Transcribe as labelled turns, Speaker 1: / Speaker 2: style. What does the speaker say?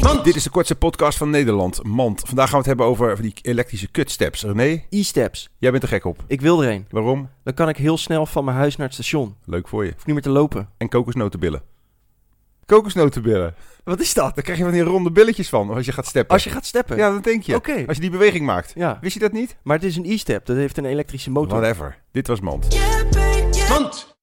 Speaker 1: Want dit is de kortste podcast van Nederland. Mand. Vandaag gaan we het hebben over die elektrische kutsteps. René,
Speaker 2: E-steps.
Speaker 1: jij bent er gek op.
Speaker 2: Ik wil er een.
Speaker 1: Waarom?
Speaker 2: Dan kan ik heel snel van mijn huis naar het station.
Speaker 1: Leuk voor je.
Speaker 2: Hoef niet meer te lopen.
Speaker 1: En kokosnotenbillen. Kokosnotenbillen.
Speaker 2: Wat is dat?
Speaker 1: Daar krijg je van die ronde billetjes van als je gaat steppen.
Speaker 2: Als je gaat steppen.
Speaker 1: Ja, dat denk je.
Speaker 2: Oké.
Speaker 1: Als je die beweging maakt.
Speaker 2: Ja.
Speaker 1: Wist je dat niet?
Speaker 2: Maar het is een e-step. Dat heeft een elektrische motor.
Speaker 1: Whatever. Dit was Mand.